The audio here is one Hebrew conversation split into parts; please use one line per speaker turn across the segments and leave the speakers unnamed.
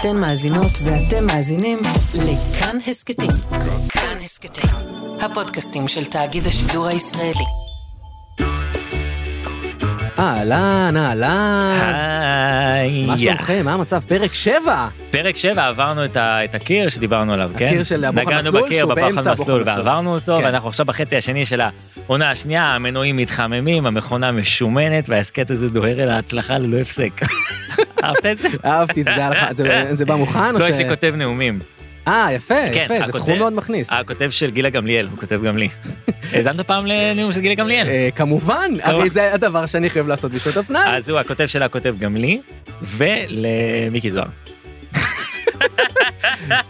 אתן מאזינות ואתם מאזינים לכאן הסכתים. כאן הסכתים, הפודקאסטים של תאגיד השידור הישראלי.
אהלן, אהלן,
היי,
מה
יא.
שלומכם? מה המצב? פרק 7!
פרק 7 עברנו את ה- את הקיר שדיברנו עליו, כן?
הקיר של הבוחן מסלול,
נגענו בקיר
שהוא
בבחן
באמצע הבוחן
מסלול
מסלול.
ועברנו אותו,
כן.
ואנחנו עכשיו בחצי השני של העונה השנייה, המנועים מתחממים, המכונה משומנת, וההסכת הזה דוהר אל ההצלחה ללא הפסק. אהבת את זה?
אהבתי את זה, זה היה לך- זה- זה בא מוכן או
לא,
ש...
יש לי כותב נאומים.
אה, יפה,
כן, אה,
יפה, זה
הכותב-
תחום מאוד מכניס.
הכותב של גילה גמליאל, הוא כותב גם לי. האזנת פעם לנאום של גילה גמליאל?
אה, כמובן, הרי זה הדבר שאני חייב לעשות בשעות הפנאי.
אז הוא הכותב שלה כותב גם לי, ולמיקי זוהר.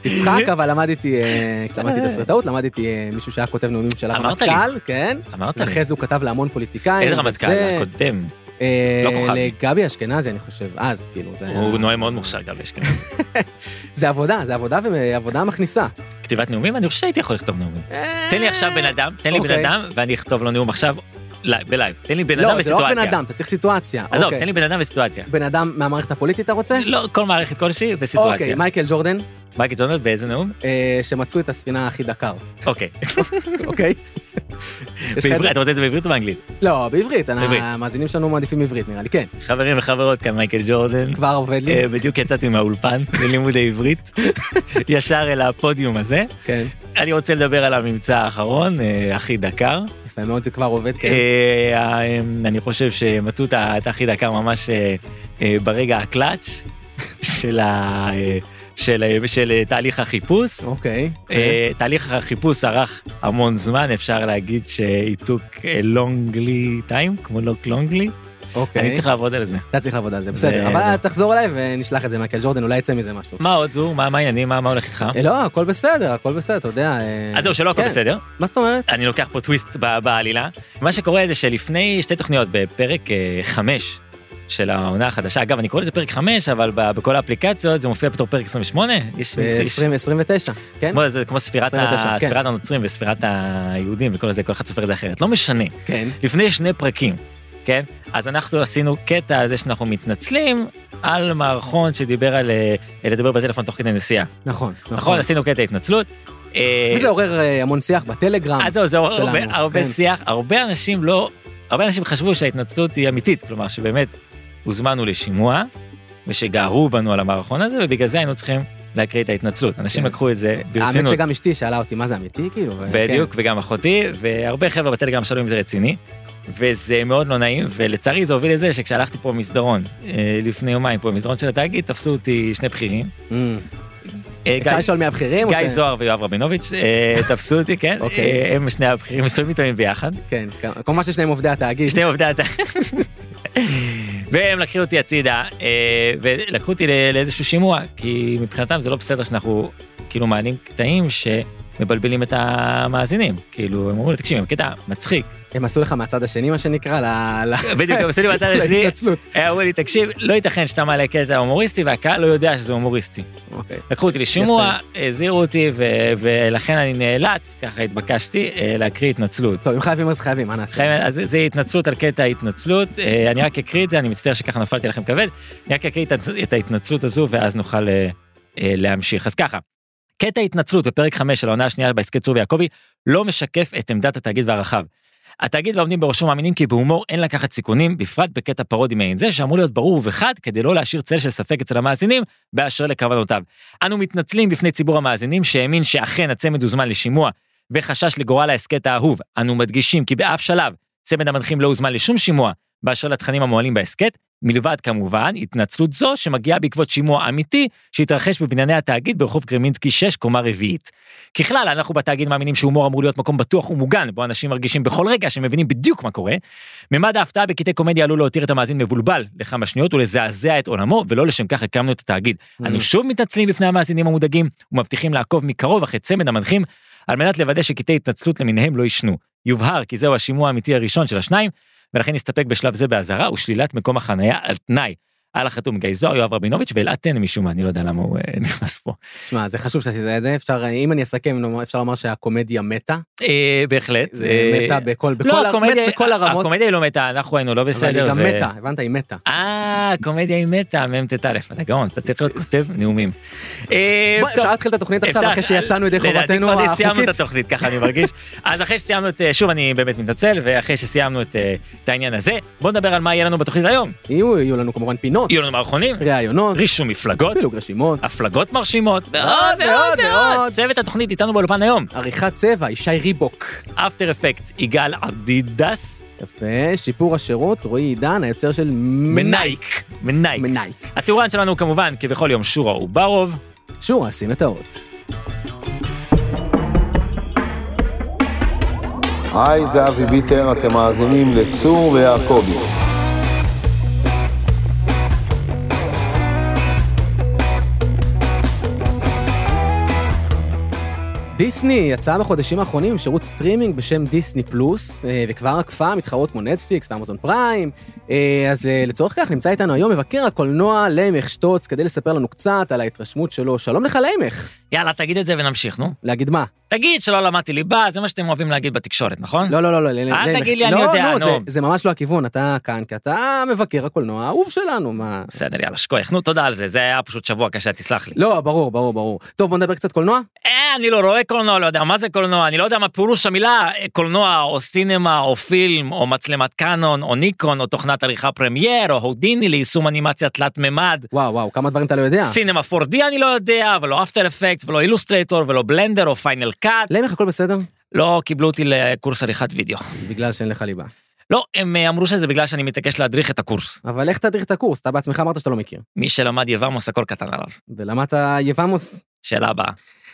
תצחק, אבל למדתי, אה, כשלמדתי תסריטאות, למדתי אה, מישהו שהיה כותב נאומים של
אמרת
הרמטכ"ל, כן?
אמרת לי.
אחרי זה הוא כתב להמון פוליטיקאים.
איזה רמטכ"ל?
וזה,
הקודם.
אה,
לא כוכבי.
לגבי אשכנזי, אני חושב, אז, כאילו, זה היה-
הוא נואם מאוד מוכשר גם באשכנז.
זה עבודה, זה עבודה ועבודה מכניסה.
כתיבת נאומים? אני חושב שהייתי יכול לכתוב נאומים.
אה,
תן לי עכשיו בן אדם, תן לי בן
אוקיי.
אדם, ואני אכתוב לו נאום עכשיו לי- בלייב. תן לי בן אדם
לא, זה לא רק בן
וסיטואציה.
אדם, אתה צריך סיטואציה.
עזוב,
אוקיי.
תן לי בן אדם וסיטואציה.
בן אדם מהמערכת הפוליטית אתה רוצה?
לא, כל מערכת כלשהי
אוקיי,
וסיטואציה.
מייקל ג'ורדן,
מייקל ג'ונלד באיזה נאום?
אה, שמצאו את הספינה הכי דקר,
אוקיי.
אוקיי? יש לך את זה?
בעברית, אתה רוצה את זה בעברית או באנגלית?
לא, בעברית, אני-
בעברית.
המאזינים שלנו מעדיפים עברית נראה לי, כן.
חברים וחברות, כאן מייקל ג'ורדן.
כבר עובד לי,
אה, בדיוק יצאתי מהאולפן ללימודי עברית, ישר אל הפודיום הזה.
כן.
אני רוצה לדבר על הממצא האחרון, אה, הכי דקר.
יפה מאוד, זה כבר עובד, כן.
אה, אה, אני חושב שמצאו את ה- את הכי דקה ממש אה, אה, ברגע הקלאץ' של ה- אה, של ה- של אה, תהליך החיפוש.
אוקיי. כן.
אה, תהליך החיפוש ארך המון זמן, אפשר להגיד שעיתוק לונגלי טיים, כמו לוק לונגלי. אני
אוקיי.
צריך לעבוד על זה.
אתה צריך לעבוד על זה, בסדר.
זה- לא.
אבל תחזור אליי ונשלח את זה מייקל ג'ורדן, אולי יצא מזה משהו.
מה עוד זו? מה מה העניינים? מה מה הולך איתך?
אה, לא, הכל בסדר, הכל בסדר, אתה יודע. אה,
אז זהו, שלא הכל
כן.
בסדר.
מה זאת אומרת?
אני לוקח פה טוויסט ב- בעלילה. מה שקורה זה שלפני שתי תוכניות בפרק 5 של העונה החדשה, אגב, אני קורא לזה פרק 5, אבל ב- בכל האפליקציות זה מופיע בתור פרק 28. יש
זה
יש-
20, 29, כן?
כמו- זה כמו ספירת ה-
29, כן.
ספירת הנוצרים וספירת היהודים וכל זה, כל אחד סופר את זה אחרת. לא משנה.
כן.
לפני שני פרקים, כן? אז אנחנו עשינו קטע על זה שאנחנו מתנצלים על מערכון שדיבר על אה, לדבר בטלפון תוך כדי נסיעה.
נכון,
נכון?
נכון.
עשינו קטע התנצלות. אה,
וזה עורר אה, המון שיח בטלגרם.
אז אה, זהו, זה
שלנו,
הרבה, הרבה
כן.
שיח, הרבה אנשים לא, הרבה אנשים חשבו שההתנצלות היא אמיתית, כלומר שבאמת הוזמנו לשימוע, ושגערו בנו על המערכון הזה, ובגלל זה היינו צריכים להקריא את ההתנצלות. אנשים
כן.
לקחו את זה
האמת
ברצינות.
שגם אשתי שאלה אותי, מה זה אמיתי, כאילו? ו-
בדיוק, וגם אחותי, והרבה חבר'ה בטלגרם שאלו אם זה רציני, וזה מאוד לא נעים, ולצערי זה הוביל לזה שכשהלכתי פה במסדרון, אה, לפני יומיים פה במסדרון של התאגיד, תפסו אותי שני בכירים.
כן. אמ.
אה, גיא-
אפשר לשאול מי הבכירים? או
גיא
ש-
זוהר ויואב רבינוביץ', אה, תפסו אותי, כן?
אוקיי.
אה, הם שני הבכירים, מסתובבים איתם ביחד.
כן, כ- כמובן ששניהם עובדי התאגיד.
שני עובדי התא. והם לקחו אותי הצידה, אה, ולקחו אותי ל- לאיזשהו שימוע, כי מבחינתם זה לא בסדר שאנחנו כאילו מעלים קטעים שמבלבלים את המאזינים. כאילו, הם אמרו לי, תקשיב, הם קטע מצחיק.
הם עשו לך מהצד השני, מה שנקרא, ל- ל-
בדיוק, הם עשו לי בצד השני,
להתנצלות.
אה, אמרו לי, תקשיב, לא ייתכן שאתה מעלה קטע הומוריסטי והקהל לא יודע שזה הומוריסטי.
אוקיי.
לקחו אותי לשימוע, הזהירו אותי, ו- ולכן אני נאלץ, ככה התבקשתי, אה, להקריא התנצלות.
טוב, אם חייבים אז חייבים, מה נעשה?
חייב- אז זה התנצלות על קטע ההתנצלות, אה, אני רק אקריא את זה, אני מצטער שככה נפלתי לכם כבד, אני רק אקריא את הצ- את ההתנצלות הזו ואז נוכל אה, אה, להמשיך. אז ככה, קטע ההתנצלות בפרק 5 של העונה השנייה בהסכת צור ויעקבי לא משקף את עמדת התאגיד והרחב. התאגיד והעומדים בראשו מאמינים כי בהומור אין לקחת סיכונים, בפרט בקטע פרודי מעין זה, שאמור להיות ברור וחד כדי לא להשאיר צל של ספק אצל המאזינים באשר לכוונותיו. אנו מתנצלים בפני ציבור המאזינים שהאמין שאכן הצמד הוזמן לשימוע וחשש לגורל ההסכת האהוב. אנו מדגישים כי באף שלב צמד המנחים לא הוזמן לשום שימוע באשר לתכנים המועלים בהסכת, מלבד כמובן התנצלות זו שמגיעה בעקבות שימוע אמיתי שהתרחש בבנייני התאגיד ברחוב קרמינסקי 6, קומה רביעית. ככלל, אנחנו בתאגיד מאמינים שהומור אמור להיות מקום בטוח ומוגן, בו אנשים מרגישים בכל רגע שמבינים בדיוק מה קורה. ממד ההפתעה בקטעי קומדיה עלול להותיר את המאזין מבולבל לכמה שניות ולזעזע את עולמו, ולא לשם כך הקמנו את התאגיד. אנו שוב מתנצלים בפני המאזינים המודאגים, ומבטיחים לעקוב מקרוב אחרי צמד המנחים, על מנת לוודא שקטעי התנצלות למיניהם לא יישנו. יובהר כי זהו השימוע האמיתי הראשון של השניים, ולכן נסתפק בשלב זה באזהרה ושלילת מקום החנייה על תנאי. על החתום גיא זוהר, יואב רבינוביץ' ואלעד טנא משום מה, אני לא יודע למה הוא אה, נכנס פה.
תשמע, זה חשוב שעשית את זה, אפשר, אם אני אסכם, נאמר- אפשר לומר שהקומדיה מתה,
אה, בהחלט.
זה
אה,
מתה בכל, בכל,
לא,
הר-
הקומדיה-
מת בכל הרמות,
הקומדיה היא לא מתה, אנחנו היינו לא
אבל
בסדר.
היא גם
ו-
מתה, הבנת? היא מתה.
אה, הקומדיה היא מתה, מ"ט א', אתה גאון, אתה צריך להיות כותב נאומים. אה,
בוא,
טוב.
אפשר להתחיל את התוכנית עכשיו,
אפשר-
אחרי שיצאנו ידי
לדעתי
חובתנו
כבר די סיימנו
החוקית?
את התוכנית, ככה אני מרגיש. אז אחרי שסיימנו את, אה, שוב, אני באמת מתנצל, ואחרי שסיימנו את אה, את העניין הזה, בואו נדבר על מה יהיה לנו בתוכנית היום.
יהיו יהיו לנו כמובן פינות,
יהיו לנו מערכונים,
ראיונות,
רישום מפלגות,
פילוג רשימות,
הפלגות מרשימות, ועוד
ועוד,
ועוד ועוד.
ועוד.
צוות התוכנית איתנו באולפן היום,
עריכת צבע, ישי ריבוק.
אפטר אפקט, יגאל עדידס,
יפה, שיפור השירות, רועי עידן, היוצר של
מנייק, מנייק.
מנייק.
הטורן שלנו הוא כמובן, כבכל יום, שורה אוברוב.
שורה, שים את האות.
היי, זה אבי ביטר, אתם מאזינים לצור ויעקבי.
דיסני יצאה בחודשים האחרונים עם שירות סטרימינג בשם דיסני פלוס, אה, וכבר עקפה מתחרות כמו נטפליקס ואמזון פריים. אה, אז אה, לצורך כך נמצא איתנו היום מבקר הקולנוע לימך שטוץ, כדי לספר לנו קצת על ההתרשמות שלו. שלום לך לימך.
יאללה, תגיד את זה ונמשיך, נו.
להגיד מה?
תגיד שלא למדתי ליבה, זה מה שאתם אוהבים להגיד בתקשורת, נכון?
לא, לא, לא, לא, לימך.
אל תגיד לי, אני
לא,
יודע,
לא,
נו.
זה- זה ממש לא הכיוון, אתה כאן, כי אתה מבקר הקולנוע האהוב שלנו, מה...
בסדר, יאללה, שכוח. נו, תודה על זה, זה היה פשוט שבוע קשה, תסלח לי.
לא, ברור, ברור, ברור. טוב, בוא נדבר קצת קולנוע?
אה, אני לא רואה קולנוע, לא יודע מה זה קולנוע, אני לא יודע מה פירוש המילה אה, קולנוע, או סינמה, או פילם, או מצלמת קאנון, או ניקון, או תוכנת עריכה פרמייר, או הודיני ליישום אנימציה תלת ממד.
וואו, וואו, כמה דברים אתה לא יודע.
סינמה 4D אני לא יודע, ולא אפטר אפקט, ולא אילוסטרייטור, ולא בלנדר, או פיינל קאט.
לימך, הכל בסדר?
לא קיבלו אותי לקורס עריכת וידאו.
בגלל שאין לך ליבה.
לא, הם אה, אמרו שזה בגלל שאני מתעקש להדריך את הקורס.
אבל איך תדריך את הקורס? אתה בעצמך אמרת שאתה לא מכיר.
מי שלמד יבמוס הכל קטן עליו.
ולמדת יבמוס?
שאלה הבאה.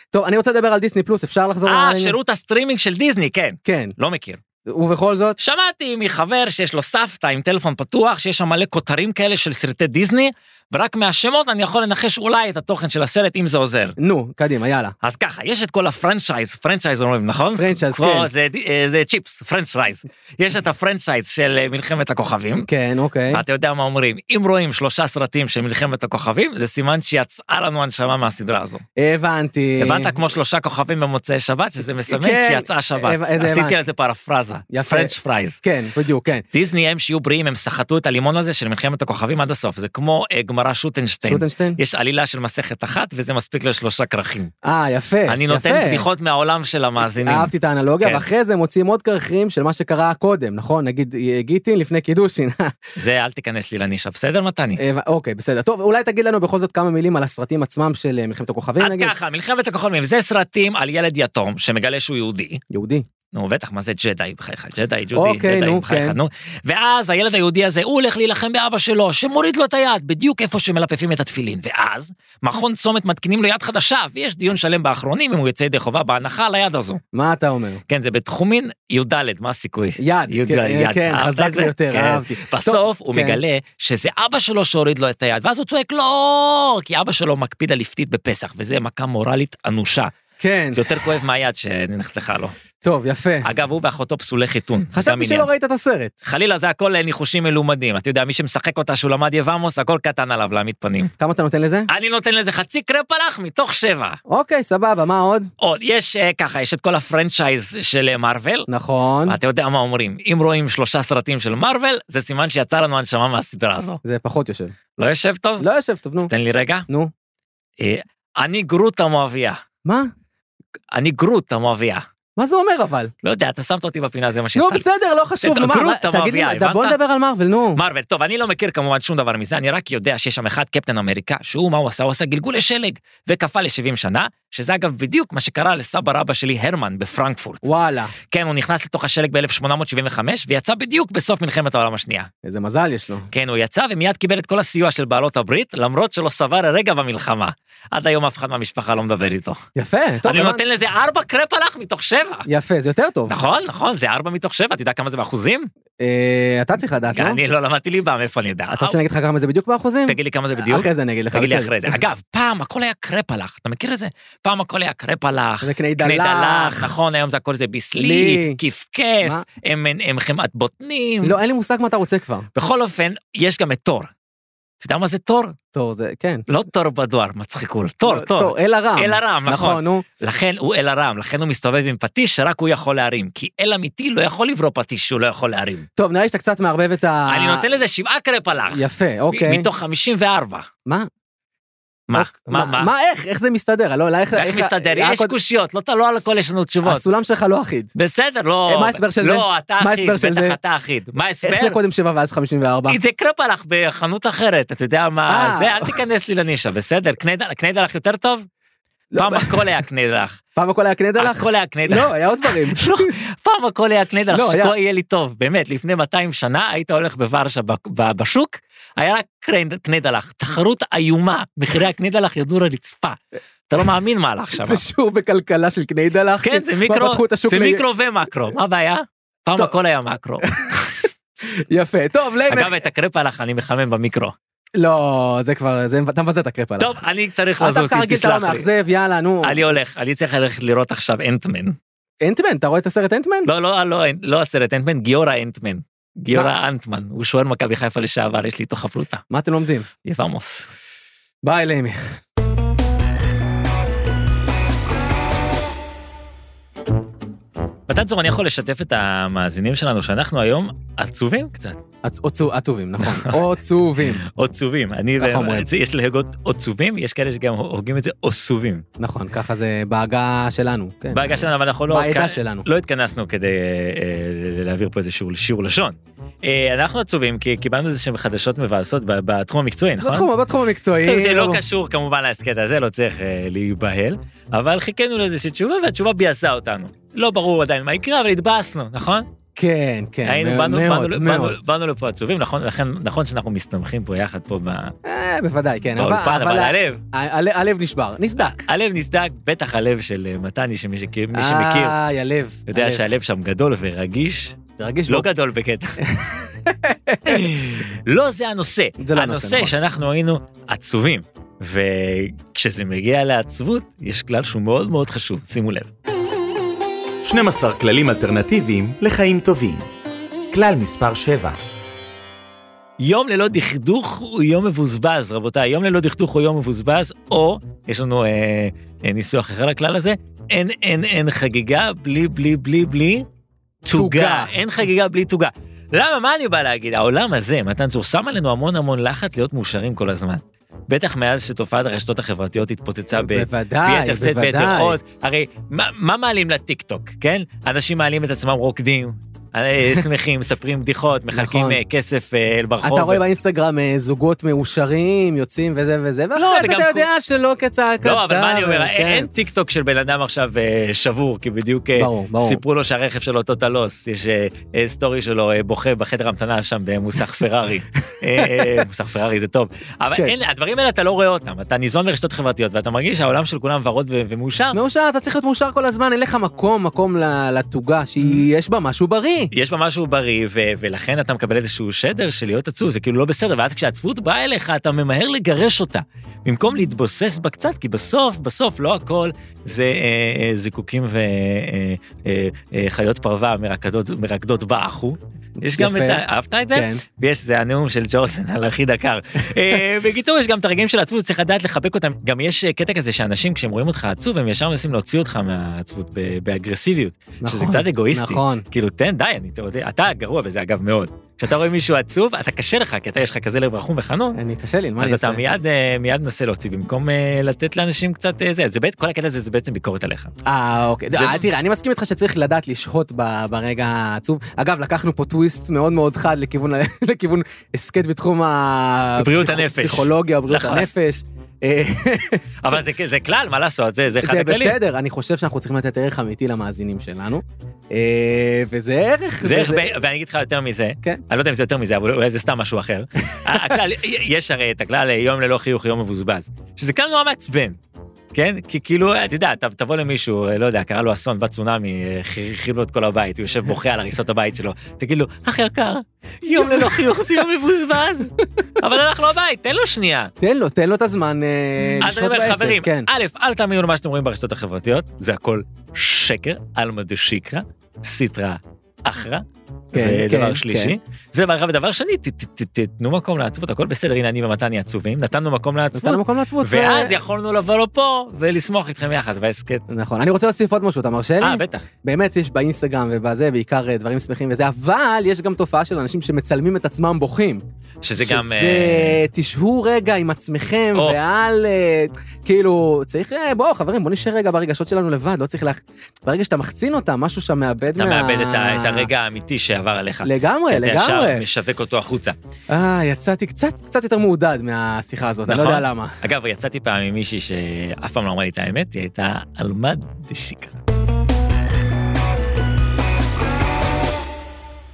טוב, אני רוצה לדבר על דיסני פלוס, אפשר לחזור
אה,
לעניין?
שירות הסטרימינג של דיסני, כן.
כן,
לא מכיר.
ובכל זאת,
שמעתי מחבר שיש לו סבתא עם טלפון פתוח, שיש שם מלא כותרים כאלה של סרטי דיסני, ורק מהשמות אני יכול לנחש אולי את התוכן של הסרט, אם זה עוזר.
נו, קדימה, יאללה.
אז ככה, יש את כל הפרנצ'ייז, פרנצ'ייז אומרים, נכון?
פרנצ'ייז,
כמו-
כן.
זה, אה, זה צ'יפס, פרנצ'ייז. יש את הפרנצ'ייז של אה, מלחמת הכוכבים.
כן, אוקיי.
אתה יודע מה אומרים, אם רואים שלושה סרטים של מלחמת הכוכבים, זה סימן שיצאה לנו הנשמה מהסדרה הזו.
הבנתי.
הבנת כמו שלושה כוכבים במוצאי שבת, שזה מסמן
אה, כן,
שיצאה שבת.
אה, איזה
עשיתי
הבנתי.
על זה פרפרזה,
יפה.
פרנץ' פרייז.
כן, בדיוק, כן.
דיסני הם שיהיו בריאים, הם סחטו את הלימון הזה של מלחמת הכוכבים עד הסוף, זה כמו אה, גמרא שוטנשטיין.
שוטנשטיין?
יש עלילה של מסכת אחת וזה מספיק לשלושה כרכים.
אה, יפה, יפה.
אני נותן בדיחות מהעולם של המאזינים.
אהבתי את האנלוגיה,
כן.
ואחרי זה מוציאים עוד קרחים של מה שקרה קודם, נכון? נגיד אה, גיטין לפני קידושין.
זה אל תיכנס לי לנישה, בסדר מתני?
אה, אוקיי, בסדר. טוב, אולי תגיד לנו בכל זאת כמה מילים על הסרטים עצמם של אה, מלחמת הכוכבים,
אז
נגיד.
ככה, מלחמת הכוכבים זה סרטים על ילד יתום שמגלה שהוא יהודי.
יהודי.
נו בטח, מה זה ג'די בחייך? ג'די, ג'ודי,
אוקיי,
ג'די
נו,
בחייך,
כן.
נו. ואז הילד היהודי הזה, הוא הולך להילחם באבא שלו, שמוריד לו את היד, בדיוק איפה שמלפפים את התפילין. ואז, מכון צומת מתקינים לו יד חדשה, ויש דיון שלם באחרונים אם הוא יוצא ידי חובה בהנחה על היד הזו.
מה אתה אומר?
כן, זה בתחומין י"ד, מה הסיכוי?
יד, כן, אה, כן,
אהבת
חזק
את זה?
ביותר,
כן.
אהבתי.
בסוף
טוב,
הוא
כן.
מגלה שזה אבא שלו שהוריד לו את היד, ואז הוא צועק לא, כי אבא שלו מקפיד על לפתית בפסח, וזה מכה מורלית אנושה.
כן,
זה יותר כואב מהיד שנחתכה לו.
טוב, יפה.
אגב, הוא ואחותו פסולי חיתון. גם
חשבתי
עניין.
שלא ראית את הסרט.
חלילה, זה הכל אה, ניחושים מלומדים. אתה יודע, מי שמשחק אותה שהוא למד יבמוס, הכל קטן עליו להעמיד פנים.
כמה אתה נותן לזה?
אני נותן לזה חצי קרפלח מתוך שבע.
אוקיי, סבבה, מה עוד?
עוד, יש אה, ככה, יש את כל הפרנצ'ייז של אה, מארוול.
נכון.
אתה יודע מה אומרים, אם רואים שלושה סרטים של מארוול, זה סימן שיצא לנו הנשמה מהסדרה הזו.
זה פחות יושב.
לא יושב טוב?
לא יושב טוב, נו.
אז תן לי רגע.
נו.
אה, אני גרוט המואביה.
מה?
אני גרוט המואביה.
מה זה אומר אבל?
לא יודע, אתה שמת אותי בפינה, זה מה שיצא
נו,
לי.
בסדר, לא חשוב, נו, מה,
תדברו,
מה-
אתה
תגיד
מביאה,
לי, אתה- בוא
הבנת?
נדבר על מארוול, נו.
מארוול, טוב, אני לא מכיר כמובן שום דבר מזה, אני רק יודע שיש שם אחד, קפטן אמריקה, שהוא, מה הוא עשה? הוא עשה גלגולי שלג, וקפא ל-70 שנה, שזה אגב בדיוק מה שקרה לסבא רבא שלי, הרמן, בפרנקפורט.
וואלה,
כן, הוא נכנס לתוך השלג ב-1875, ויצא בדיוק בסוף מלחמת העולם השנייה.
איזה מזל יש לו.
כן, הוא יצא ומיד קיבל את כל הסיוע של בעלות הברית, למרות שלא סבר רגע במלחמה. עד היום אף אחד מהמשפחה לא מדבר איתו.
יפה, טוב,
אני
הבנ-
נותן לזה ארבע קרפלח מתוך שבע.
יפה, זה יותר טוב.
נכון, נכון, זה ארבע מתוך שבע, אתה יודע כמה זה באחוזים?
אה, אתה צריך לדעת, לא?
אני לא למדתי ליבה, מאיפה אני יודע?
אתה רוצה שאני אגיד לך כמה זה בדיוק באחוזים?
תגיד לי כמה זה בדיוק?
אחרי זה אני אגיד לך,
תגיד לי
בסדר.
אחרי זה. אגב, פעם הכל היה קרפלח, אתה מכיר את זה? פעם הכל היה קרפלח.
זה קני
קני דלח,
דלח.
נכון, היום זה הכל זה ביסלי,
לי.
כפכף,
מה?
הם הם חמאת בוטנים.
לא, אין לי מושג מה אתה רוצה כבר.
בכל אופן, יש גם את תור. אתה יודע מה זה תור?
תור זה, כן.
לא תור בדואר, מצחיקול, תור,
לא,
תור.
אל הרם.
אל הרם, נכון.
נכון, נו.
לכן הוא אל הרם, לכן הוא מסתובב עם פטיש שרק הוא יכול להרים, כי אל אמיתי לא יכול לברוא פטיש שהוא לא יכול להרים.
טוב, נראה לי שאתה קצת מערבב את ה...
אני נותן לזה שבעה קרפלח.
יפה, אה. אוקיי.
מתוך 54.
מה?
מה?
אוק-
מה? מה?
מה, איך? איך זה מסתדר? לא, לא, איך...
איך מסתדר?
אה,
יש
קוד-
קושיות, לא לא על הכל יש לנו תשובות.
הסולם שלך לא אחיד.
בסדר, לא...
אה, מה ההסבר של זה?
לא, אתה
מה
אחיד,
ההסבר של
בטח
זה?
אתה אחיד. מה ההסבר?
איך זה קודם 7 ואז 54?
כי זה קרפלח בחנות אחרת, אתה יודע מה
אה.
זה? אל תיכנס לי לנישה, בסדר? קניידל- קניידלח יותר טוב?
לא,
פעם הכל היה קניידלח.
פעם הכל היה קנדלח?
הכל היה קניידלח.
לא, היה עוד דברים.
לא, פעם הכל היה קניידלח,
לא, היה.
שכה יהיה לי טוב, באמת, לפני 200 שנה היית הולך בוורשה ב- ב- בשוק, היה רק קרנד- קניידלח, תחרות איומה, מחירי הקניידלח ירדו לרצפה. אתה לא מאמין מה הלך שם.
זה שיעור בכלכלה של קניידלח.
אז כן, זה
מה,
מיקרו,
פתחו את השוק
זה
ל-
מיקרו ומקרו, מה הבעיה? פעם
טוב.
הכל היה מקרו.
יפה. טוב, ליימך.
אגב, את הקרפלח אני מחמם במיקרו.
לא, זה כבר, זה- אתה מבזה את הקרפ עליו.
טוב, אני צריך
אתה
לזוז,
דווקא
אם
רגיל, אתה לא
תסלח לי.
מאכזב, יאללה, נו.
אני הולך, אני צריך ללכת לראות עכשיו אנטמן.
אנטמן, אתה רואה את הסרט אנטמן?
לא, לא, לא, לא הסרט אנטמן, גיורא אנטמן. גיורא אנטמן, הוא שוער מכבי חיפה לשעבר, יש לי איתו חפרותה.
מה אתם לומדים?
יבמוס.
ביי, ליימך.
מתן צור, אני יכול לשתף את המאזינים שלנו שאנחנו היום עצובים קצת.
עצ- עצוב- עצובים, נכון. עצובים,
עצובים. אני,
ככה אומרים.
יש להגות עצובים, יש כאלה שגם הוגים את זה עשובים.
נכון, ככה זה בעגה שלנו. כן.
בעגה שלנו, אבל אנחנו לא...
בעדה
כאן-
שלנו.
לא התכנסנו כדי אה, אה, להעביר פה איזשהו שיעור לשון. אה, אנחנו עצובים כי קיבלנו איזה שהם חדשות מבאסות ב- בתחום המקצועי, נכון?
בתחום, אה, בתחום
טוב,
המקצועי.
זה לא קשור כמובן להסכת הזה, לא צריך אה, להיבהל, אבל חיכינו לאיזושהי תשובה והתשובה ביאסה אותנו. לא ברור עדיין מה יקרה, אבל התבאסנו, נכון?
כן, כן,
היינו,
מא-
באנו,
מאוד,
באנו,
מאוד.
באנו, באנו לפה עצובים, נכון, לכן, נכון שאנחנו מסתמכים פה יחד פה ב-
אה, בוודאי, כן. אבל-
באולפן, אבל
אבל ה-
הלב,
ה- הלב נשבר, נסדק.
הלב נסדק, בטח הלב של אה, מתני, שמי שכי- מי שמכיר,
איי, הלב.
יודע
אה, הלב.
שהלב שם גדול ורגיש,
תרגיש
לא
בו.
גדול בקטע. לא זה הנושא,
זה לא הנושא,
הנושא
נכון.
שאנחנו היינו עצובים, וכשזה מגיע לעצבות, יש כלל שהוא מאוד מאוד חשוב, שימו לב.
12 כללים אלטרנטיביים לחיים טובים. כלל מספר 7,
יום ללא דכדוך הוא יום מבוזבז, רבותיי. יום ללא דכדוך הוא יום מבוזבז, או, יש לנו אה, אה, ניסוח אחר לכלל הזה, אין, אין, אין חגיגה בלי, בלי, בלי, בלי תוגה.
תוגה.
אין חגיגה בלי תוגה. למה, מה אני בא להגיד? העולם הזה, מתן צור, שם עלינו המון המון לחץ להיות מאושרים כל הזמן. בטח מאז שתופעת הרשתות החברתיות התפוצצה ב...
בוודאי,
ביתר שאת ביתר
אה, בוודאי.
עוז. הרי מה, מה מעלים לטיקטוק, כן? אנשים מעלים את עצמם רוקדים, אה, שמחים, מספרים בדיחות, מחלקים
נכון.
אה, כסף אה, ברחוב.
אתה רואה באינסטגרם אה, זוגות מאושרים, יוצאים וזה וזה,
לא,
ואחרי זה
וגם
אתה
כל-
יודע שלא כצעקתה.
לא, אבל מה אני אומר, אין-
כן.
אין טיקטוק של בן אדם עכשיו אה, שבור, כי בדיוק אה,
ברור, ברור.
סיפרו לו שהרכב שלו טוטה לוס, יש אה, אה, סטורי שלו אה, בוכה בחדר המתנה שם במוסך פרארי. אה, אה, מוסך פרארי זה טוב. אבל
כן.
אין- הדברים האלה אתה לא רואה אותם, אתה ניזון לרשתות חברתיות ואתה מרגיש שהעולם של כולם ורוד ו- ומאושר.
מאושר, אתה צריך להיות מאושר כל הזמן, אין לך מקום, מקום ל- לתוגה, שיש בה משהו בריא.
יש בה משהו בריא, ו- ולכן אתה מקבל איזשהו שדר של להיות עצוב, זה כאילו לא בסדר, ואז כשהעצבות באה אליך, אתה ממהר לגרש אותה, במקום להתבוסס בה קצת, כי בסוף, בסוף לא הכל זה אה, אה, זיקוקים אה, וחיות פרווה מרקדות, מרקדות באחו. יש גם את
יפה.
ה... אהבת את זה?
כן.
ויש, זה הנאום של ג'ורדן על הכי דקר. אה, בקיצור, יש גם את הרגעים של עצבות, צריך לדעת לחבק אותם. גם יש אה, קטע כזה שאנשים, כשהם רואים אותך עצוב, הם ישר מנסים להוציא אותך מהעצבות ב- באגרסיביות. שזה
נכון,
קצת אגואיסטי.
נכון.
כאילו, תן, די, אני, אתה יודע, אתה גרוע בזה, אגב, מאוד. כשאתה רואה מישהו עצוב, אתה קשה לך, כי אתה, יש לך כזה לב רחום וחנון,
אני קשה לי, אה, מה אני
אז
אעשה?
אתה מיד, אה, מיד מנסה להוציא, במקום אה, לתת לאנשים קצת אה, זה. זה בית, כל הקטע הזה זה בעצם ביקורת עליך.
אה, אוקיי.
זה- לא-
אה, תראה, אני מסכים איתך שצריך לדעת לשהות ב- ברגע העצוב. אגב, לקחנו פה טוויסט מאוד מאוד חד לכיוון- לכיוון הסכת בתחום
בריאות
הפסיכולוגיה,
הנפש.
הפסיכולוגיה, בריאות
נכון.
הנפש. אה,
אבל זה, זה כלל, מה לעשות, זה, זה אחד
זה
הכללים.
בסדר, אני חושב שאנחנו צריכים לתת ערך אמיתי למאזינים שלנו. אה, וזה ערך.
זה איך,
וזה-
ו- ואני אגיד לך יותר מזה,
כן.
אני לא יודע אם זה יותר מזה, אבל אולי זה סתם משהו אחר. הכלל, יש הרי את הכלל אה, יום ללא חיוך, יום מבוזבז, שזה כלל נורא מעצבן, כן? כי כאילו, אה, אתה יודע, אתה- תבוא למישהו, אה, לא יודע, קרה לו אסון, בא צונאמי, אה, ח- חיב לו את כל הבית, הוא יושב בוכה על הריסות הבית שלו, תגיד לו, אח יקר, יום ללא חיוך זה יום מבוזבז, אבל הלך לו הבית, תן לו שנייה.
תן לו, תן לו את הזמן אה,
אז אני
לשהות
אומר,
בעצב.
חברים, אה,
כן.
א', אל תאמינו למה שאתם רואים ברשתות החברתיות, זה הכל שקר, עלמא דשיקרא, סיטרא אחלה.
כן,
זה
כן,
דבר שלישי. זה דבר אחד, ודבר שני, ת- ת- ת- תתנו מקום לעצבות, הכל בסדר, הנה אני ומתני עצובים, נתנו מקום לעצבות,
נתנו מקום לעצבות. אה, ו-
ואז יכולנו לבוא לפה ולשמוח איתכם יחד, וההסכת...
נכון. אני רוצה להוסיף עוד משהו, אתה מרשה לי?
אה, בטח.
באמת יש באינסטגרם ובזה בעיקר אה, דברים שמחים וזה, אבל יש גם תופעה של אנשים שמצלמים את עצמם בוכים.
שזה גם... אה,
שזה, תשהו רגע עם עצמכם,
או.
ואל, אה, כאילו, צריך, אה, בואו חברים, בואו נשאר רגע ברגשות שלנו לבד, לא צריך לה... ברגע שאתה מחצין אותם, משהו שאתה מאבד
אתה
מה...
מאבד את ה- את הרגע האמיתי שעבר עליך.
לגמרי,
אתה ישר
לגמרי.
משווק אותו החוצה.
אה, יצאתי קצת, קצת יותר מעודד מהשיחה הזאת, אני לא
נכון.
יודע למה.
אגב, יצאתי פעם עם מישהי שאף פעם לא אמרה לי את האמת, היא הייתה עלמה דשיקה.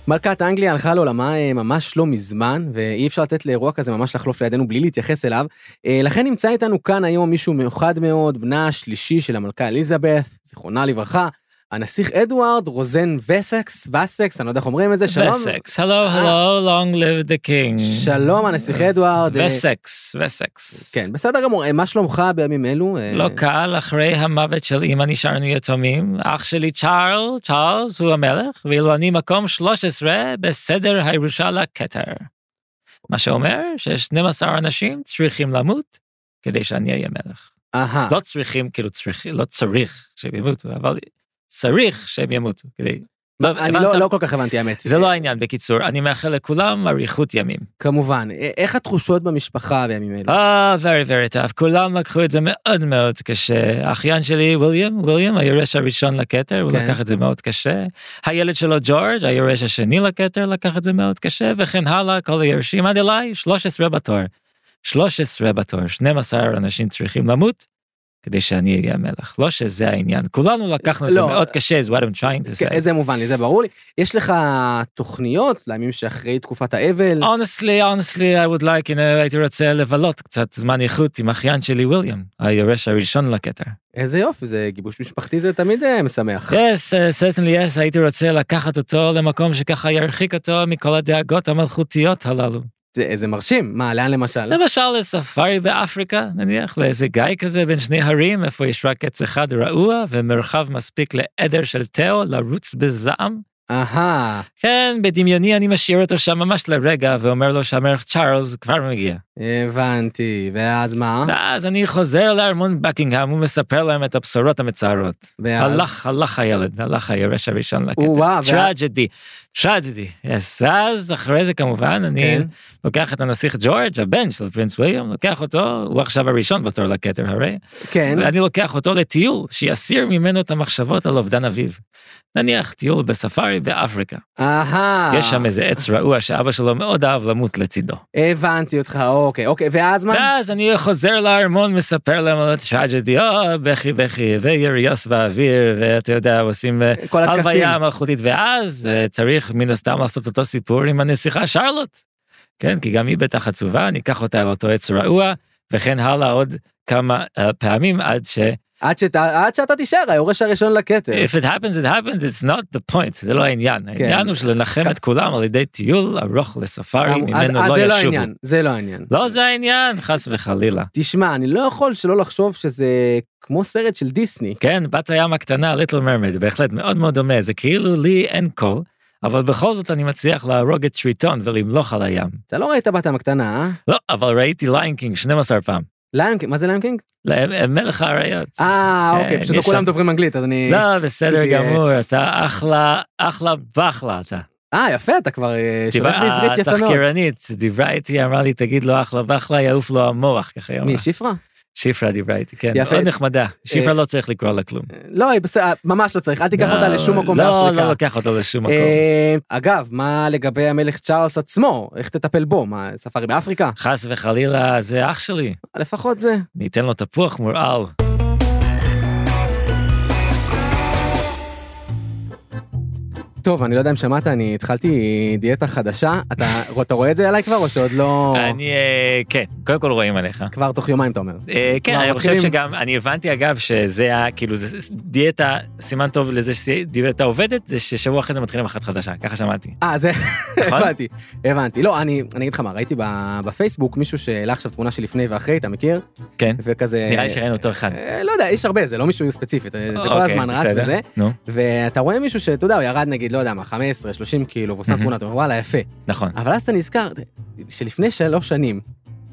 מלכת אנגליה הלכה לעולמה אה, ממש לא מזמן, ואי אפשר לתת לאירוע כזה ממש לחלוף לידינו בלי להתייחס אליו. אה, לכן נמצא איתנו כאן היום מישהו מיוחד מאוד, בנה השלישי של המלכה אליזבת, זיכרונה לברכה, הנסיך אדוארד רוזן וסקס, וסקס, אני לא יודע איך אומרים את זה, שלום.
וסקס, הלו, הלו, long live the king.
אה. שלום, הנסיך אדוארד. אה,
וסקס, וסקס.
כן, בסדר גמור, אה, מה שלומך בימים אלו? אה,
לא קל, אחרי המוות של אמא נשארנו יתומים, אח שלי צ'ארל, צ'ארלס הוא המלך, ואילו אני מקום 13 בסדר הירושה לכתר. מה שאומר ש-12 אנשים צריכים למות כדי שאני אהיה מלך.
אהה,
לא צריכים, כאילו צריכים, לא צריך שהם ימותו, אבל צריך שהם ימותו כדי...
אני
הבנת?
לא- לא כל כך הבנתי, האמת.
זה לא העניין, בקיצור, אני מאחל לכולם אריכות ימים.
כמובן. אה, איך התחושות במשפחה בימים אלו?
אה, very very tough, כולם לקחו את זה מאוד מאוד קשה. האחיין שלי, וויליאם, וויליאם, היורש הראשון לכתר, הוא
כן.
לקח את זה מאוד קשה. הילד שלו, ג'ורג', היורש השני לכתר, לקח את זה מאוד קשה, וכן הלאה, כל היורשים עד אליי, 13 בתור. 13 בתור, 12 אנשים צריכים למות. כדי שאני אהיה המלך, לא שזה העניין, כולנו לקחנו את זה
לא.
מאוד קשה, is what I'm trying to
כן,
say.
זה מובן לי, זה ברור לי. יש לך תוכניות לימים שאחרי תקופת האבל?
אה. honestly, honestly, I would like, you know, הייתי רוצה לבלות קצת זמן איכות עם אחיין שלי וויליאם, היורש הראשון לכתר.
איזה יופי, זה גיבוש משפחתי, זה תמיד אה, משמח.
Yes, uh, certainly yes, הייתי רוצה לקחת אותו למקום שככה ירחיק אותו מכל הדאגות המלכותיות הללו.
זה- זה מרשים. מה, לאן למשל?
למשל לספארי באפריקה, נניח לאיזה גיא כזה בין שני הרים, איפה יש רק עץ אחד רעוע ומרחב מספיק לעדר של תאו לרוץ בזעם.
אהה,
כן, בדמיוני אני משאיר אותו שם ממש לרגע ואומר לו שהמלך צ'ארלס כבר מגיע.
הבנתי. ואז מה?
ואז אני חוזר לארמון בקינגהם ומספר להם את הבשורות המצערות.
ואז...
הלך, הלך הילד, הלך היורש הראשון
וואו, וה-
לקטע. טראג'די, טראג'די, יס. ואז אחרי זה כמובן, אני
כן.
לוקח את הנסיך ג'ורג', הבן של פרינס וויליאם, לוקח אותו, הוא עכשיו הראשון בתור לכתר הרי,
כן,
ואני לוקח אותו לטיול, שיסיר ממנו את המחשבות על אובדן אביו. נניח טיול בספארי באפריקה,
אהה.
יש שם איזה עץ רעוע שאבא שלו מאוד אהב למות לצידו.
הבנתי אותך, אוקיי, אוקיי. ואז מה?
ואז אני חוזר לארמון, מספר להם על הטראג'די, או, בכי בכי, ויריוס באוויר, ואתה יודע, עושים אה,
כל הטקסים.
הלוויה מלכותית, ואז אה, צריך מן הסתם לעשות אותו סיפור עם הנסיכה שרלוט. כן, כי גם היא בטח עצובה, אני אקח אותה על אותו עץ רעוע, וכן הלאה עוד כמה אה, פעמים עד ש...
עד שת- עד שאתה תישאר, היורש הראשון לכתר.
If it happens, it happens, it's not the point, זה לא העניין.
כן.
העניין הוא של לנחם את כולם על ידי טיול ארוך לספארי,
כאמור, אז
ממנו
אז
לא
זה לא
ישובו.
העניין, זה לא העניין.
לא זה העניין, חס וחלילה.
תשמע, אני לא יכול שלא לחשוב שזה כמו סרט של דיסני.
כן, בת הים הקטנה, ליטל מרמד, בהחלט מאוד מאוד דומה, זה כאילו לי אין קול, אבל בכל זאת אני מצליח להרוג את שריטון ולמלוך על הים.
אתה לא ראית בת הים הקטנה, אה?
לא, אבל ראיתי ליינקינג 12 פעם.
ליונקינג, מה זה ליונקינג?
ל- מלך האריות.
אה, אוקיי,
כן,
פשוט לא
יש
כולם
שם-
דוברים אנגלית, אז אני...
לא, בסדר
רציתי, אה,
גמור, אתה אחלה, אחלה בחלה אתה.
אה, יפה, אתה כבר אה, שולט
דיברה-
בעברית יפה מאוד.
התחקירנית דיברה איתי, אמרה לי, תגיד לו אחלה בחלה, יעוף לו המוח, ככה היא אמרה.
מי, שפרה?
שפרה דיברה איתי, כן,
יפה.
מאוד נחמדה. שפרה לא צריך לקרוא לה כלום.
לא, היא בסדר, ממש לא צריך, אל תיקח אותה
לא,
לשום מקום
לא,
באפריקה.
לא לוקח אותה לשום מקום.
אה, אגב, מה לגבי המלך צ'ארלס עצמו? איך תטפל בו? מה, ספארי באפריקה?
חס וחלילה, זה אח שלי.
לפחות זה.
ניתן לו תפוח מורעל.
טוב, אני לא יודע אם שמעת, אני התחלתי דיאטה חדשה. אתה אתה רואה את זה עליי כבר, או שעוד לא...
אני, אה, כן, קודם כל רואים עליך.
כבר תוך יומיים, אתה אומר.
אה, כן,
מה,
אני חושב
מתחילים?
שגם, אני הבנתי אגב שזה היה, כאילו, זה ס- דיאטה, סימן טוב לזה שדיאטה עובדת, זה ששבוע אחרי זה מתחילים אחת חדשה, ככה שמעתי.
אה, זה...
נכון?
הבנתי, הבנתי. לא, אני אני אגיד לך מה, ראיתי ב- בפייסבוק מישהו שהעלה עכשיו תמונה של לפני ואחרי, אתה מכיר?
כן,
וכזה...
נראה לי שראינו אותו אחד.
אה, לא יודע, יש הרבה, זה לא מישהו ספציפית, אה, זה כל
אוקיי,
הזמן רץ
בסדר.
וזה.
נו,
ואתה רואה מישהו שאתה יודע, הוא ירד נגיד, לא לא יודע מה, 15, 30 קילו, ועושה
מהמם.
תמונה, אתה אומר, וואלה, יפה.
נכון.
אבל אז אתה נזכר שלפני שלוש שנים,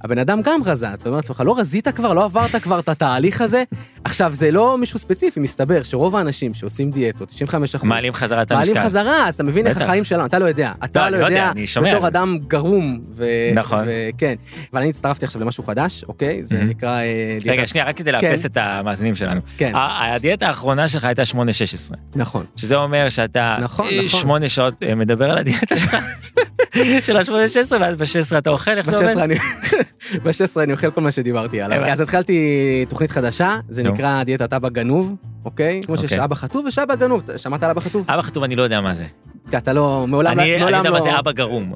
הבן אדם גם רזה, אתה אומר לעצמך, לא רזית כבר, לא עברת כבר את התהליך הזה? עכשיו, זה לא מישהו ספציפי, מסתבר שרוב האנשים שעושים דיאטות, 95 אחוז,
מעלים חזרה את המשקל.
מעלים חזרה, אז אתה מבין איך
בטח.
החיים שלנו, אתה לא יודע.
לא,
אתה לא
אני לא יודע,
יודע,
אני שומע.
בתור אדם גרום. ו-
נכון.
וכן. אבל אני הצטרפתי עכשיו למשהו חדש, אוקיי? זה
מהמם.
נקרא אה,
רגע,
דיאטה.
שנייה, רק כדי
כן.
לאפס את המאזינים שלנו.
כן,
ה- הדיאטה האחרונה שלך הייתה 8-16,
נכון.
שזה אומר שאתה
נכון,
אה,
נכון.
שמונה שעות אה, מדבר על הדיאטה שלך, של ה-8-16, ואז ב-16 אתה אוכל, איך זה
ב-16
עובד?
אני- ב-16 אני אוכל כל מה שדיברתי עליו.
הבנתי.
אז התחלתי תוכנית חדשה, זה
נו.
נקרא דיאטת אבא גנוב, אוקיי? כמו שיש
אוקיי.
אבא חטוב יש אבא גנוב. אתה- שמעת על אבא חטוב?
אבא חטוב, אני לא יודע מה זה.
כי אתה לא, מעולם לא-
אני אני
מעולם
יודע מה זה
לא-
אבא גרום,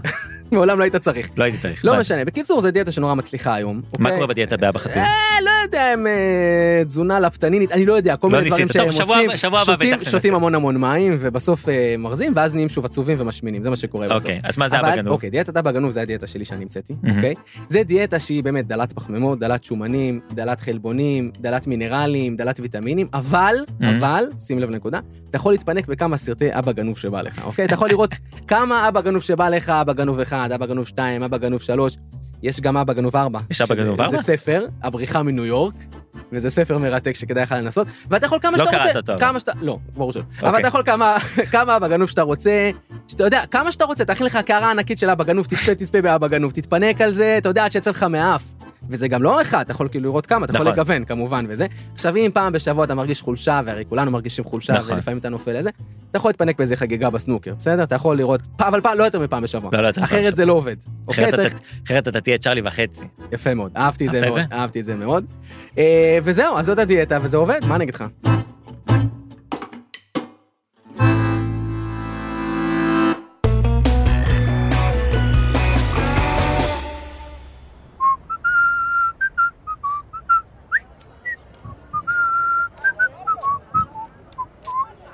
מעולם לא היית צריך.
לא הייתי צריך.
לא
מה-
משנה. בקיצור, זו דיאטה שנורא מצליחה היום.
מה
אוקיי?
קורה בדיאטה באבא חטוב?
אה, לא יודע אם אה, תזונה לפתנינית, אני לא יודע, כל
לא
מיני דברים
ניסית.
שהם
טוב, שבוע הבא-
עושים,
שבוע הבא
שותים-
בטח ננסה.
שותים המון המון מים, ובסוף אה, מרזים, ואז נהיים שוב עצובים ומשמינים, זה מה שקורה בסוף.
אוקיי, אז מה זה אבא
אבל-
גנוב?
אוקיי, דיאטת אבא גנוב זה הדיאטה שלי שאני המצאתי,
מהמם.
אוקיי? זה דיאטה שהיא באמת דלת פחמימות, דלת שומנים, דלת חלבונים, דלת מינרלים, דלת ויטמינים, אבל,
מהמם.
אבל, שים לב לנקודה, אתה יכול להתפנק בכמה סרטי אבא גנוב שבא לך, אוקיי? אתה יכול לראות כמה אבא גנוב שבא לך, אבא גנוב 1, אבא גנוב 2, אבא גנוב 3, יש גם אבא גנוב 4.
יש אבא
שזה-
גנוב 4?
זה ספר, הבריחה מניו יורק. וזה ספר מרתק שכדאי לך לנסות, ואתה יכול כמה
לא
שאתה
קראת
רוצה,
אותו, אבל.
כמה שאתה, לא, ברור שלא, אבל
אוקיי.
אתה יכול כמה, כמה אבא גנוב שאתה רוצה, שאתה יודע, כמה שאתה רוצה, תכין לך קערה ענקית של אבא גנוב, תצפה, תצפה באבא גנוב, תתפנק על זה, אתה יודע, עד שיצא לך מהאף. וזה גם לא אחד, אתה יכול כאילו לראות כמה, אתה יכול
נכון.
לגוון כמובן וזה. עכשיו, אם פעם בשבוע אתה מרגיש חולשה, והרי כולנו מרגישים חולשה,
נכון.
ולפעמים אתה נופל לזה, אתה יכול להתפנק באיזה חגיגה בסנוקר, בסדר? אתה יכול לראות, פ- אבל פעם, לא יותר מפעם בשבוע.
לא, לא יותר מפעם
אחרת זה
בשבוע.
לא עובד. אוקיי?
אחרת
צריך...
אתה- אחרת אתה תהיה צ'ארלי וחצי. לא,
יפה מאוד, אהבתי את זה
אהבת את
מאוד,
זה?
אהבתי את זה מאוד. אה, וזהו, אז זאת הדיאטה, וזה עובד, מה אני אגיד לך?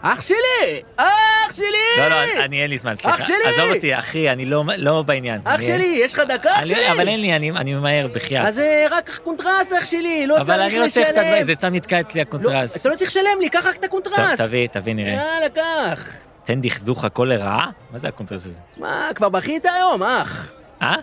אח שלי! אח שלי!
לא, לא, אני אין לי זמן, סליחה.
אה, שלי!
עזוב אותי, אחי, אני לא- לא בעניין.
אח
אני-
שלי, יש לך דקה, אח
אני-
שלי!
אבל אין לי, אני אני ממהר, בחייאת.
אז אה, רק קונטרס, אח שלי, לא צריך לשלם.
אבל אני לא צריך את הדברים, זה סתם נתקע אצלי
לא,
הקונטרס.
אתה אה. לא צריך לשלם לי, קח רק את הקונטרס.
טוב, תביא, תביא, נראה.
יאללה, קח.
תן דכדוך הכל לרעה? מה זה הקונטרס הזה?
מה, כבר בכית היום, אח?
אה?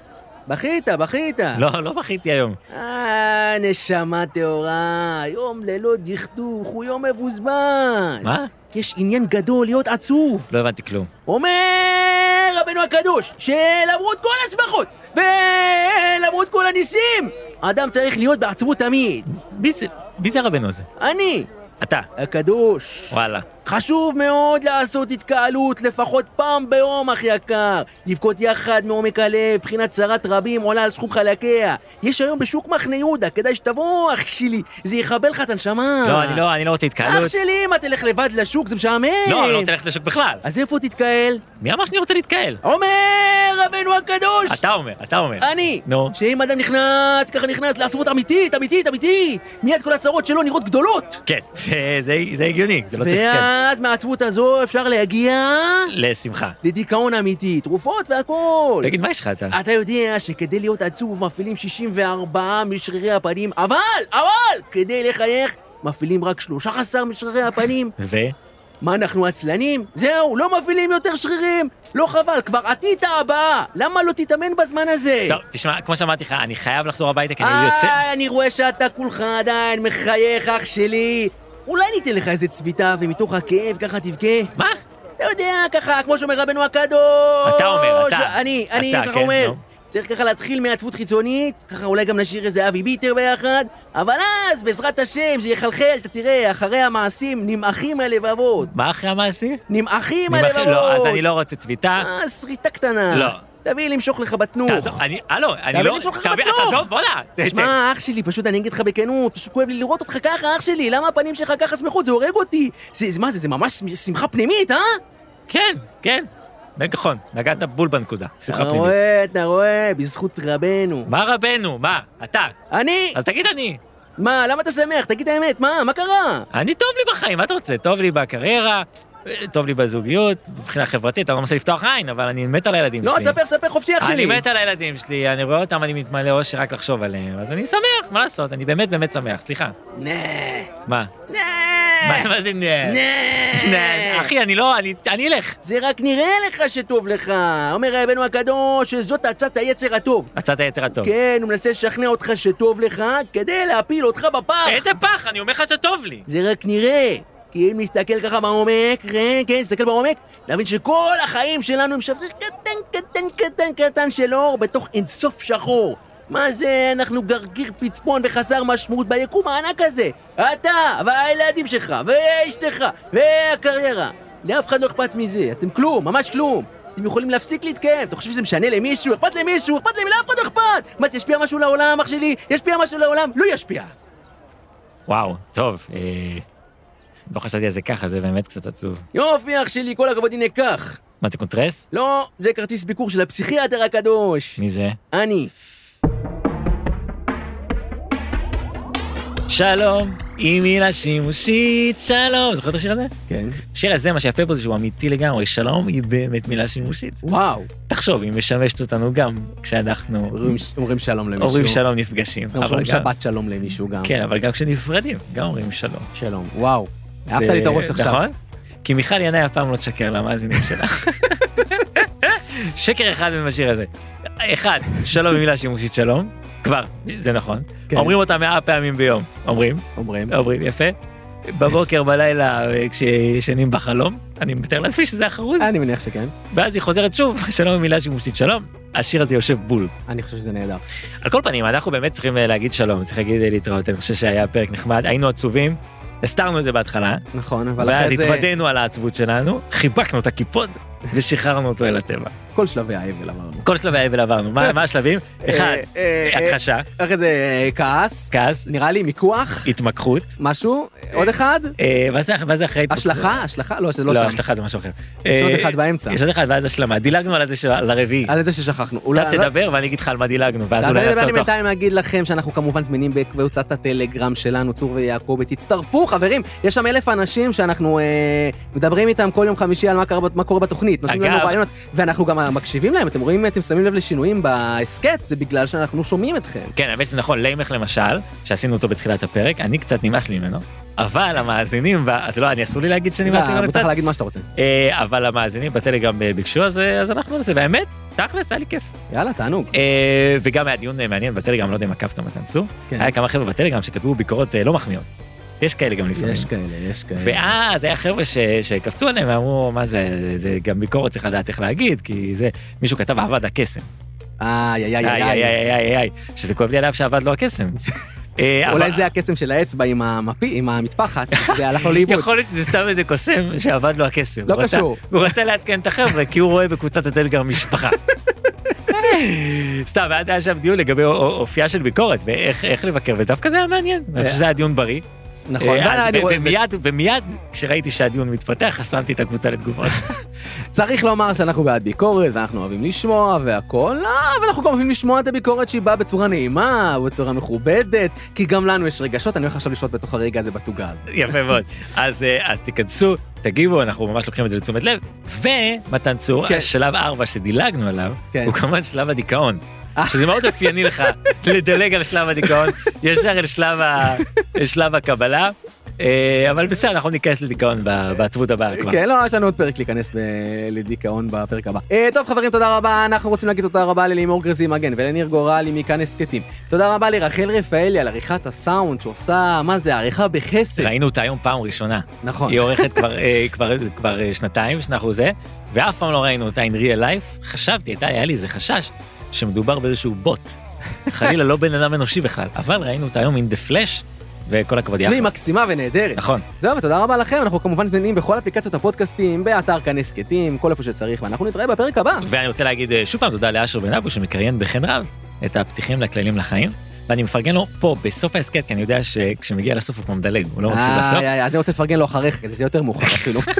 בכית, בכית.
לא, לא בכיתי היום.
אה, נשמה טהורה, יום ללא דכדוך, הוא יום מבוזבז.
מה?
יש עניין גדול להיות עצוב.
לא הבנתי כלום.
אומר רבנו הקדוש, שלמרות כל השמחות, ולמרות כל הניסים, אדם צריך להיות בעצבות תמיד.
מי זה- מי זה הרבנו הזה?
אני,
אתה.
הקדוש.
וואלה.
חשוב מאוד לעשות התקהלות לפחות פעם ביום, אח יקר. לבכות יחד מעומק הלב, בחינת צרת רבים עולה על סכום חלקיה. יש היום בשוק מחנה יהודה, כדאי שתבוא, אח שלי, זה יכבה לך את הנשמה.
לא, אני לא, אני לא רוצה
אה. אח
התקהלות.
שלי, מה, תלך לבד לשוק, זה משעמם.
לא, אני לא רוצה ללכת לשוק בכלל.
אז איפה תתקהל?
מי אמר שאני רוצה להתקהל?
אומר רבנו הקדוש!
אתה אומר, אתה אומר.
אני!
נו.
שאם אדם נכנס, ככה נכנס לעצבות אמיתית, אמיתית, אמיתית! מיד כל הצרות שלו נראות גדולות!
כן, זה- זה- זה הגיוני, זה לא צריך... כן.
ואז מהעצבות הזו אפשר להגיע...
לשמחה.
לדיכאון אמיתי, תרופות והכול.
תגיד, מה יש לך אתה?
אתה יודע שכדי להיות עצוב מפעילים 64 משרירי הפנים, אבל, אבל, כדי לחייך מפעילים רק 13 משרירי הפנים.
ו?
מה, אנחנו עצלנים? זהו, לא מפעילים יותר שרירים. לא חבל, כבר עתית הבאה. למה לא תתאמן בזמן הזה?
טוב, תשמע, כמו שאמרתי לך, אני חייב לחזור הביתה כי אני יוצא...
אה, אני רואה שאתה כולך עדיין מחייך, אח שלי. אולי ניתן לך איזה צביטה, ומתוך הכאב ככה תבכה?
מה?
אתה לא יודע, ככה, כמו שאומר רבנו הקדוש.
אתה אומר, אתה.
אני, אני
אתה,
ככה
כן,
אומר.
נו.
צריך ככה להתחיל מעצבות חיצונית, ככה אולי גם נשאיר איזה אבי ביטר ביחד, אבל אז, בעזרת השם, זה יחלחל, אתה תראה, אחרי המעשים נמעכים הלבבות.
מה אחרי המעשי?
נמעכים
אני מאחל-
הלבבות.
לא, אז אני לא רוצה צביטה.
אה, שריטה קטנה.
לא.
תביא למשוך לך בתנוך.
תעזוב, אני, הלו, אני
תביא
לא...
לי שולחן
תביא-
בטוח.
תעזוב, בוא'נה. ת- ת-
תשמע, אח שלי, פשוט אני אגיד לך בכנות, פשוט כואב לי לראות אותך ככה, אח שלי, למה הפנים שלך ככה שמחות? זה הורג אותי. זה, זה- מה זה, זה ממש שמחה פנימית, אה?
כן, כן. נכון, נגעת בול בנקודה. שמחה
אתה
פנימית.
רואה, אתה רואה, בזכות רבנו.
מה רבנו? מה? אתה.
אני?
אז תגיד אני.
מה, למה אתה שמח? תגיד האמת, מה, מה קרה?
אני טוב לי בחיים, מה אתה רוצה? טוב לי בקריירה, אה, טוב לי בזוגיות, מבחינה חברתית, אני לא מנסה לפתוח עין, אבל אני מת על הילדים
לא,
שלי.
ספר, ספר חופשי, אח שלי.
אני מת על הילדים שלי, אני רואה אותם, אני מתמלא אושר רק לחשוב עליהם, אז אני שמח, מה לעשות? אני באמת באמת שמח, סליחה.
נה,
מה?
נה,
מה- מה זה נה?
אה.
נה, אחי, אני לא, אני- אני אלך.
זה רק נראה לך שטוב לך. אומר רבנו הקדוש שזאת עצת היצר הטוב.
עצת היצר הטוב.
כן, הוא מנסה לשכנע אותך שטוב לך כדי להפיל אותך בפח.
איזה פח, אני אומר לך שטוב לי.
זה רק נראה. כי אם נסתכל ככה בעומק, כן, כן, נסתכל בעומק, נבין שכל החיים שלנו הם שבריך קטן, קטן, קטן, קטן של אור בתוך אינסוף שחור. מה זה, אנחנו גרגיר פצפון וחסר משמעות ביקום הענק הזה. אתה, והילדים שלך, ואשתך, והקריירה. לאף אחד לא אכפת מזה, אתם כלום, ממש כלום. אתם יכולים להפסיק להתקיים, אתה חושב שזה משנה למישהו? אכפת למישהו, אכפת למי, לאף אחד לא אכפת! מה, זה ישפיע משהו לעולם, אח שלי? ישפיע משהו לעולם? לא ישפיע.
וואו, טוב. אה, לא חשבתי על זה ככה, זה באמת קצת עצוב.
יופי, אח שלי, כל הכבוד, הנה, קח.
מה זה קונטרס?
לא, זה כרטיס ביקור של הפסיכיאטר הקדוש.
מי זה?
אני.
שלום, היא מילה שימושית, שלום. זוכר את השיר הזה?
כן.
השיר הזה, מה שיפה פה זה שהוא אמיתי לגמרי, שלום היא באמת מילה שימושית.
וואו.
תחשוב, היא משמשת אותנו גם כשאנחנו
אומרים- אומרים שלום למישהו.
אומרים שלום נפגשים.
גם
אבל
אומרים
גם-
שבת שלום למישהו גם.
כן, אבל גם כשנפרדים, גם אומרים שלום.
שלום. וואו. העפת
זה-
לי את הראש עכשיו.
נכון? כי מיכל ינאי אף פעם לא תשקר למאזינים שלה. שקר אחד עם השיר הזה. אחד, שלום היא מילה שימושית שלום, כבר, זה נכון.
כן.
אומרים אותה מאה פעמים ביום, אומרים,
אומרים.
אומרים, יפה. בבוקר, בלילה, אה, כשישנים בחלום, אני מתאר לעצמי שזה החרוז,
אני מניח שכן.
ואז היא חוזרת שוב, שלום היא מילה שימושית שלום, השיר הזה יושב בול.
אני חושב שזה נהדר.
על כל פנים, אנחנו באמת צריכים אה, להגיד שלום, צריך להגיד אה, להתראות, אני חושב שהיה פרק נחמד, היינו עצובים, הסתרנו את זה בהתחלה,
נכון, אבל
ואז
אחרי זה...
התוודענו על העצבות שלנו, חיבקנו את הקיפוד ושחררנו אותו אל הטבע.
כל שלבי האבל אמרנו.
כל שלבי האבל עברנו, מה מה השלבים? אחד,
אה, אה, אה,
הכחשה,
אחרי זה אה, כעס.
כעס,
נראה לי מיקוח.
התמקחות,
משהו. עוד אחד.
אה, מה זה- מה זה אחרי... התמקחות?
השלכה, השלכה. לא, זה לא
לא,
שם.
השלכה זה משהו אחר.
יש עוד
אה,
אחד באמצע.
יש עוד אחד ואז השלמה, דילגנו על זה של- על הרביעי.
על זה ששכחנו. אולי-
אתה
אני לא-
תדבר ואני אגיד לך על מה דילגנו, ואז
אז
אולי
אני
נעשה
אני
אותו.
בינתיים אגיד לכם שאנחנו כמובן זמינים בקבוצת הטלגרם שלנו, צור ויעקב, תצטרפו חברים, יש שם אלף אנשים שאנחנו אה, מדברים איתם כל יום חמישי על מה, קרה, מה קורה בתוכנית, נותנים
אגב-
לנו רעיונות, ואנחנו גם אה, מקשיבים להם, אתם רואים, אתם שמים לב לשינויים בהסכת, זה בגלל שאנחנו שומעים אתכם.
כן, האמת שזה נכון, ליימך למשל, שעשינו אותו בתחילת הפרק, אני קצת נמאס לי ממנו, אבל המאזינים, ב- אז לא, אני אסור לי להגיד שנמאס לי
אתה
ממנו
מותר
קצת,
להגיד מה שאתה רוצה.
אה, אבל המאזינים בטלגרם אה, ביקשו, אז אה, אז אנחנו נעשה, והאמת, תכלס, היה לי כיף.
יאללה, תענוג.
אה, וגם היה דיון אה, מעניין בטלגרם, לא יודע אם עקבת מתן צור,
כן.
היה כמה חבר'ה בטלגרם שכתבו ביקורות אה, לא מחמיאות. יש כאלה גם לפעמים.
יש כאלה, יש כאלה.
ואז היה חבר'ה ש- שקפצו עליהם ואמרו, מה זה, זה גם ביקורת צריך לדעת איך להגיד, כי זה, מישהו כתב עבד הקסם.
איי, איי,
איי,
איי,
איי,
איי.
איי, איי, איי, שזה כואב לי עליו שעבד לו הקסם. אה, אבל-
אולי זה הקסם של האצבע עם המפי- עם המטפחת, זה הלך לו לאיבוד.
יכול להיות שזה סתם איזה קוסם שעבד לו הקסם.
לא
הוא רצה-
קשור.
הוא רצה לעדכן את החבר'ה, כי הוא רואה בקבוצת הטלגרם משפחה. סתם, ואז היה שם דיון לגבי או- או- אופייה של ביקורת, ואיך איך לבקר, ודווקא זה היה מעניין. אני חושב שזה היה דיון בריא.
נכון.
אה,
ואני-
אז
אני
ו-
רואה-
ומיד, ומיד, כשראיתי שהדיון מתפתח, חסמתי את הקבוצה לתגובות.
צריך לומר שאנחנו בעד ביקורת, ואנחנו אוהבים לשמוע והכול, אה, אבל אנחנו גם אוהבים לשמוע את הביקורת שהיא באה בצורה נעימה, בצורה מכובדת, כי גם לנו יש רגשות, אני הולך עכשיו לשלוט בתוך הרגע הזה בתוגה הזאת.
יפה מאוד. אז אה, אז תיכנסו, תגיבו, אנחנו ממש לוקחים את זה לתשומת לב. ומתן צור,
כן.
שלב 4 שדילגנו עליו,
כן.
הוא כמובן שלב הדיכאון.
אה.
שזה מאוד אופייני לך לדלג על שלב הדיכאון, ישר אל שלב, ה... אל שלב הקבלה. אה, אבל בסדר, אנחנו ניכנס לדיכאון ב- בעצבות הבאה כבר.
כן, לא, יש לנו עוד פרק להיכנס ב... לדיכאון בפרק הבא. אה, טוב, חברים, תודה רבה. אנחנו רוצים להגיד תודה רבה ללימור גרזי מגן ולניר גורלי מכאן הסכתים. תודה רבה לרחל רפאלי על עריכת הסאונד שעושה, מה זה, עריכה בחסד.
ראינו אותה היום פעם ראשונה.
נכון.
היא עורכת כבר, אה, כבר, כבר אה, שנתיים שאנחנו זה, ואף פעם לא ראינו אותה in real life. חשבתי, הייתה, היה לי איזה חשש שמדובר באיזשהו בוט. חלילה, לא בן אדם אנושי בכלל, אבל ראינו אותה היום in the flash, וכל הכבוד יחד.
והיא מקסימה ונהדרת.
נכון.
זהו, ותודה רבה לכם, אנחנו כמובן זמינים בכל אפליקציות הפודקאסטים, באתר כאן הסכתים, כל איפה שצריך, ואנחנו נתראה בפרק הבא.
ואני רוצה להגיד אה, שוב פעם תודה לאשר בן אבו שמקריין בחן רב את הפתיחים לכללים לחיים. ואני מפרגן לו פה בסוף ההסכת, כי אני יודע שכשמגיע לסוף הוא כבר מדלג, הוא לא מקשיב
איי,
לסוף.
איי, איי, אז אני רוצה לפרגן לו אחריך, כדי שזה יהיה יותר מאוחר אפילו.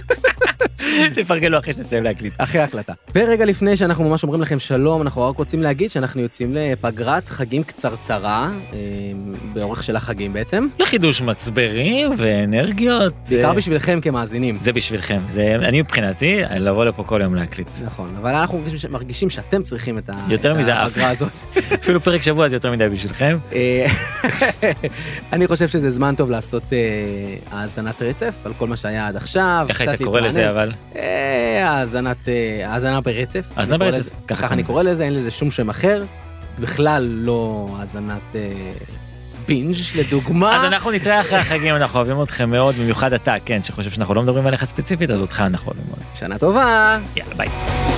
תפרגנו אחרי שנסיים להקליט.
אחרי ההקלטה. ורגע לפני שאנחנו ממש אומרים לכם שלום, אנחנו רק רוצים להגיד שאנחנו יוצאים לפגרת חגים קצרצרה, אה, באורך של החגים בעצם,
לחידוש מצברים ואנרגיות.
בעיקר
אה,
בשבילכם כמאזינים.
זה בשבילכם, זה אני מבחינתי, לבוא לפה כל יום להקליט.
נכון, אבל אנחנו מרגישים- מרגישים שאתם צריכים את ה-
יותר
את
מזה, אה. אף.
הפגרה הזאת.
אפילו פרק שבוע זה יותר מדי בשבילכם.
אה, אני חושב שזה זמן טוב לעשות אה, האזנת רצף על כל מה שהיה עד עכשיו.
איך היית
קצת
קורא לזה
להתרענן.
אבל?
אה, האזנת, אה, האזנה ברצף.
האזנה
אני קורא
ברצף,
לזה-
ככה
ככה
קוראים
אני
לזה.
קורא לזה, אין לזה שום שם אחר. בכלל לא האזנת אה, בינג'
אז
לדוגמה.
אנחנו נתראה אחרי החגים, אנחנו אוהבים אתכם מאוד, במיוחד אתה, כן, שחושב שאנחנו לא מדברים עליך ספציפית, אז אותך אנחנו אוהבים מאוד.
שנה טובה.
יאללה, ביי.